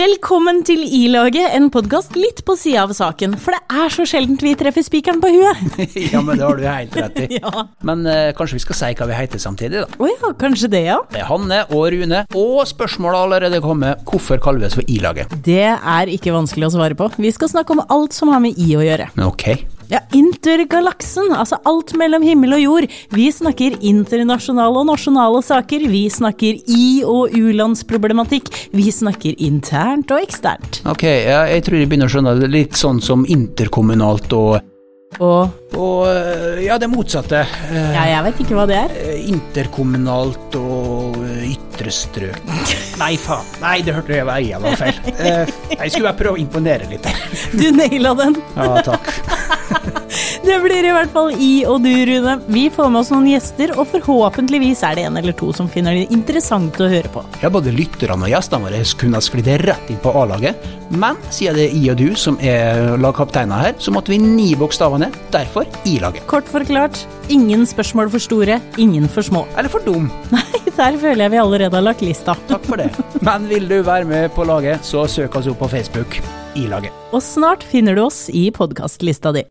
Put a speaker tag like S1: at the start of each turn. S1: Velkommen til I-laget, en podkast litt på sida av saken. For det er så sjeldent vi treffer spikeren på huet.
S2: ja, men det har du helt rett i.
S1: Ja.
S2: Men eh, kanskje vi skal si hva vi heter samtidig, da.
S1: Å ja, kanskje det, ja.
S2: Det er Hanne og Rune, og spørsmålet har allerede kommet. Hvorfor kaller vi oss for I-laget?
S1: Det er ikke vanskelig å svare på. Vi skal snakke om alt som har med I å gjøre.
S2: Men ok.
S1: Ja, intergalaksen, altså alt mellom himmel og jord. Vi snakker internasjonale og nasjonale saker. Vi snakker i- og u-landsproblematikk. Vi snakker internt og eksternt.
S2: Ok, ja, jeg tror jeg begynner å skjønne det litt sånn som interkommunalt og
S1: Og
S2: Og eh, ja, det motsatte. Eh,
S1: ja, jeg veit ikke hva det er.
S2: Interkommunalt og eh, ytre strøk. Nei, faen. Nei, det hørte jeg var jeg var feil. Eh, Jeg skulle bare prøve å imponere litt.
S1: Du naila den.
S2: Ja, takk.
S1: Det blir i hvert fall i og du, Rune. Vi får med oss noen gjester, og forhåpentligvis er det en eller to som finner det interessant å høre på.
S2: Ja, både lytterne og gjestene våre kunne ha sklidd rett inn på A-laget, men siden det er jeg og du som er lagkapteiner her, så måtte vi ni bokstavene, derfor I-laget.
S1: Kort forklart, ingen spørsmål for store, ingen for små.
S2: Eller for dum.
S1: Nei, der føler jeg vi allerede har lagt lista.
S2: Takk for det. Men vil du være med på laget, så søk oss opp på Facebook. I-laget.
S1: Og snart finner du oss i podkastlista di.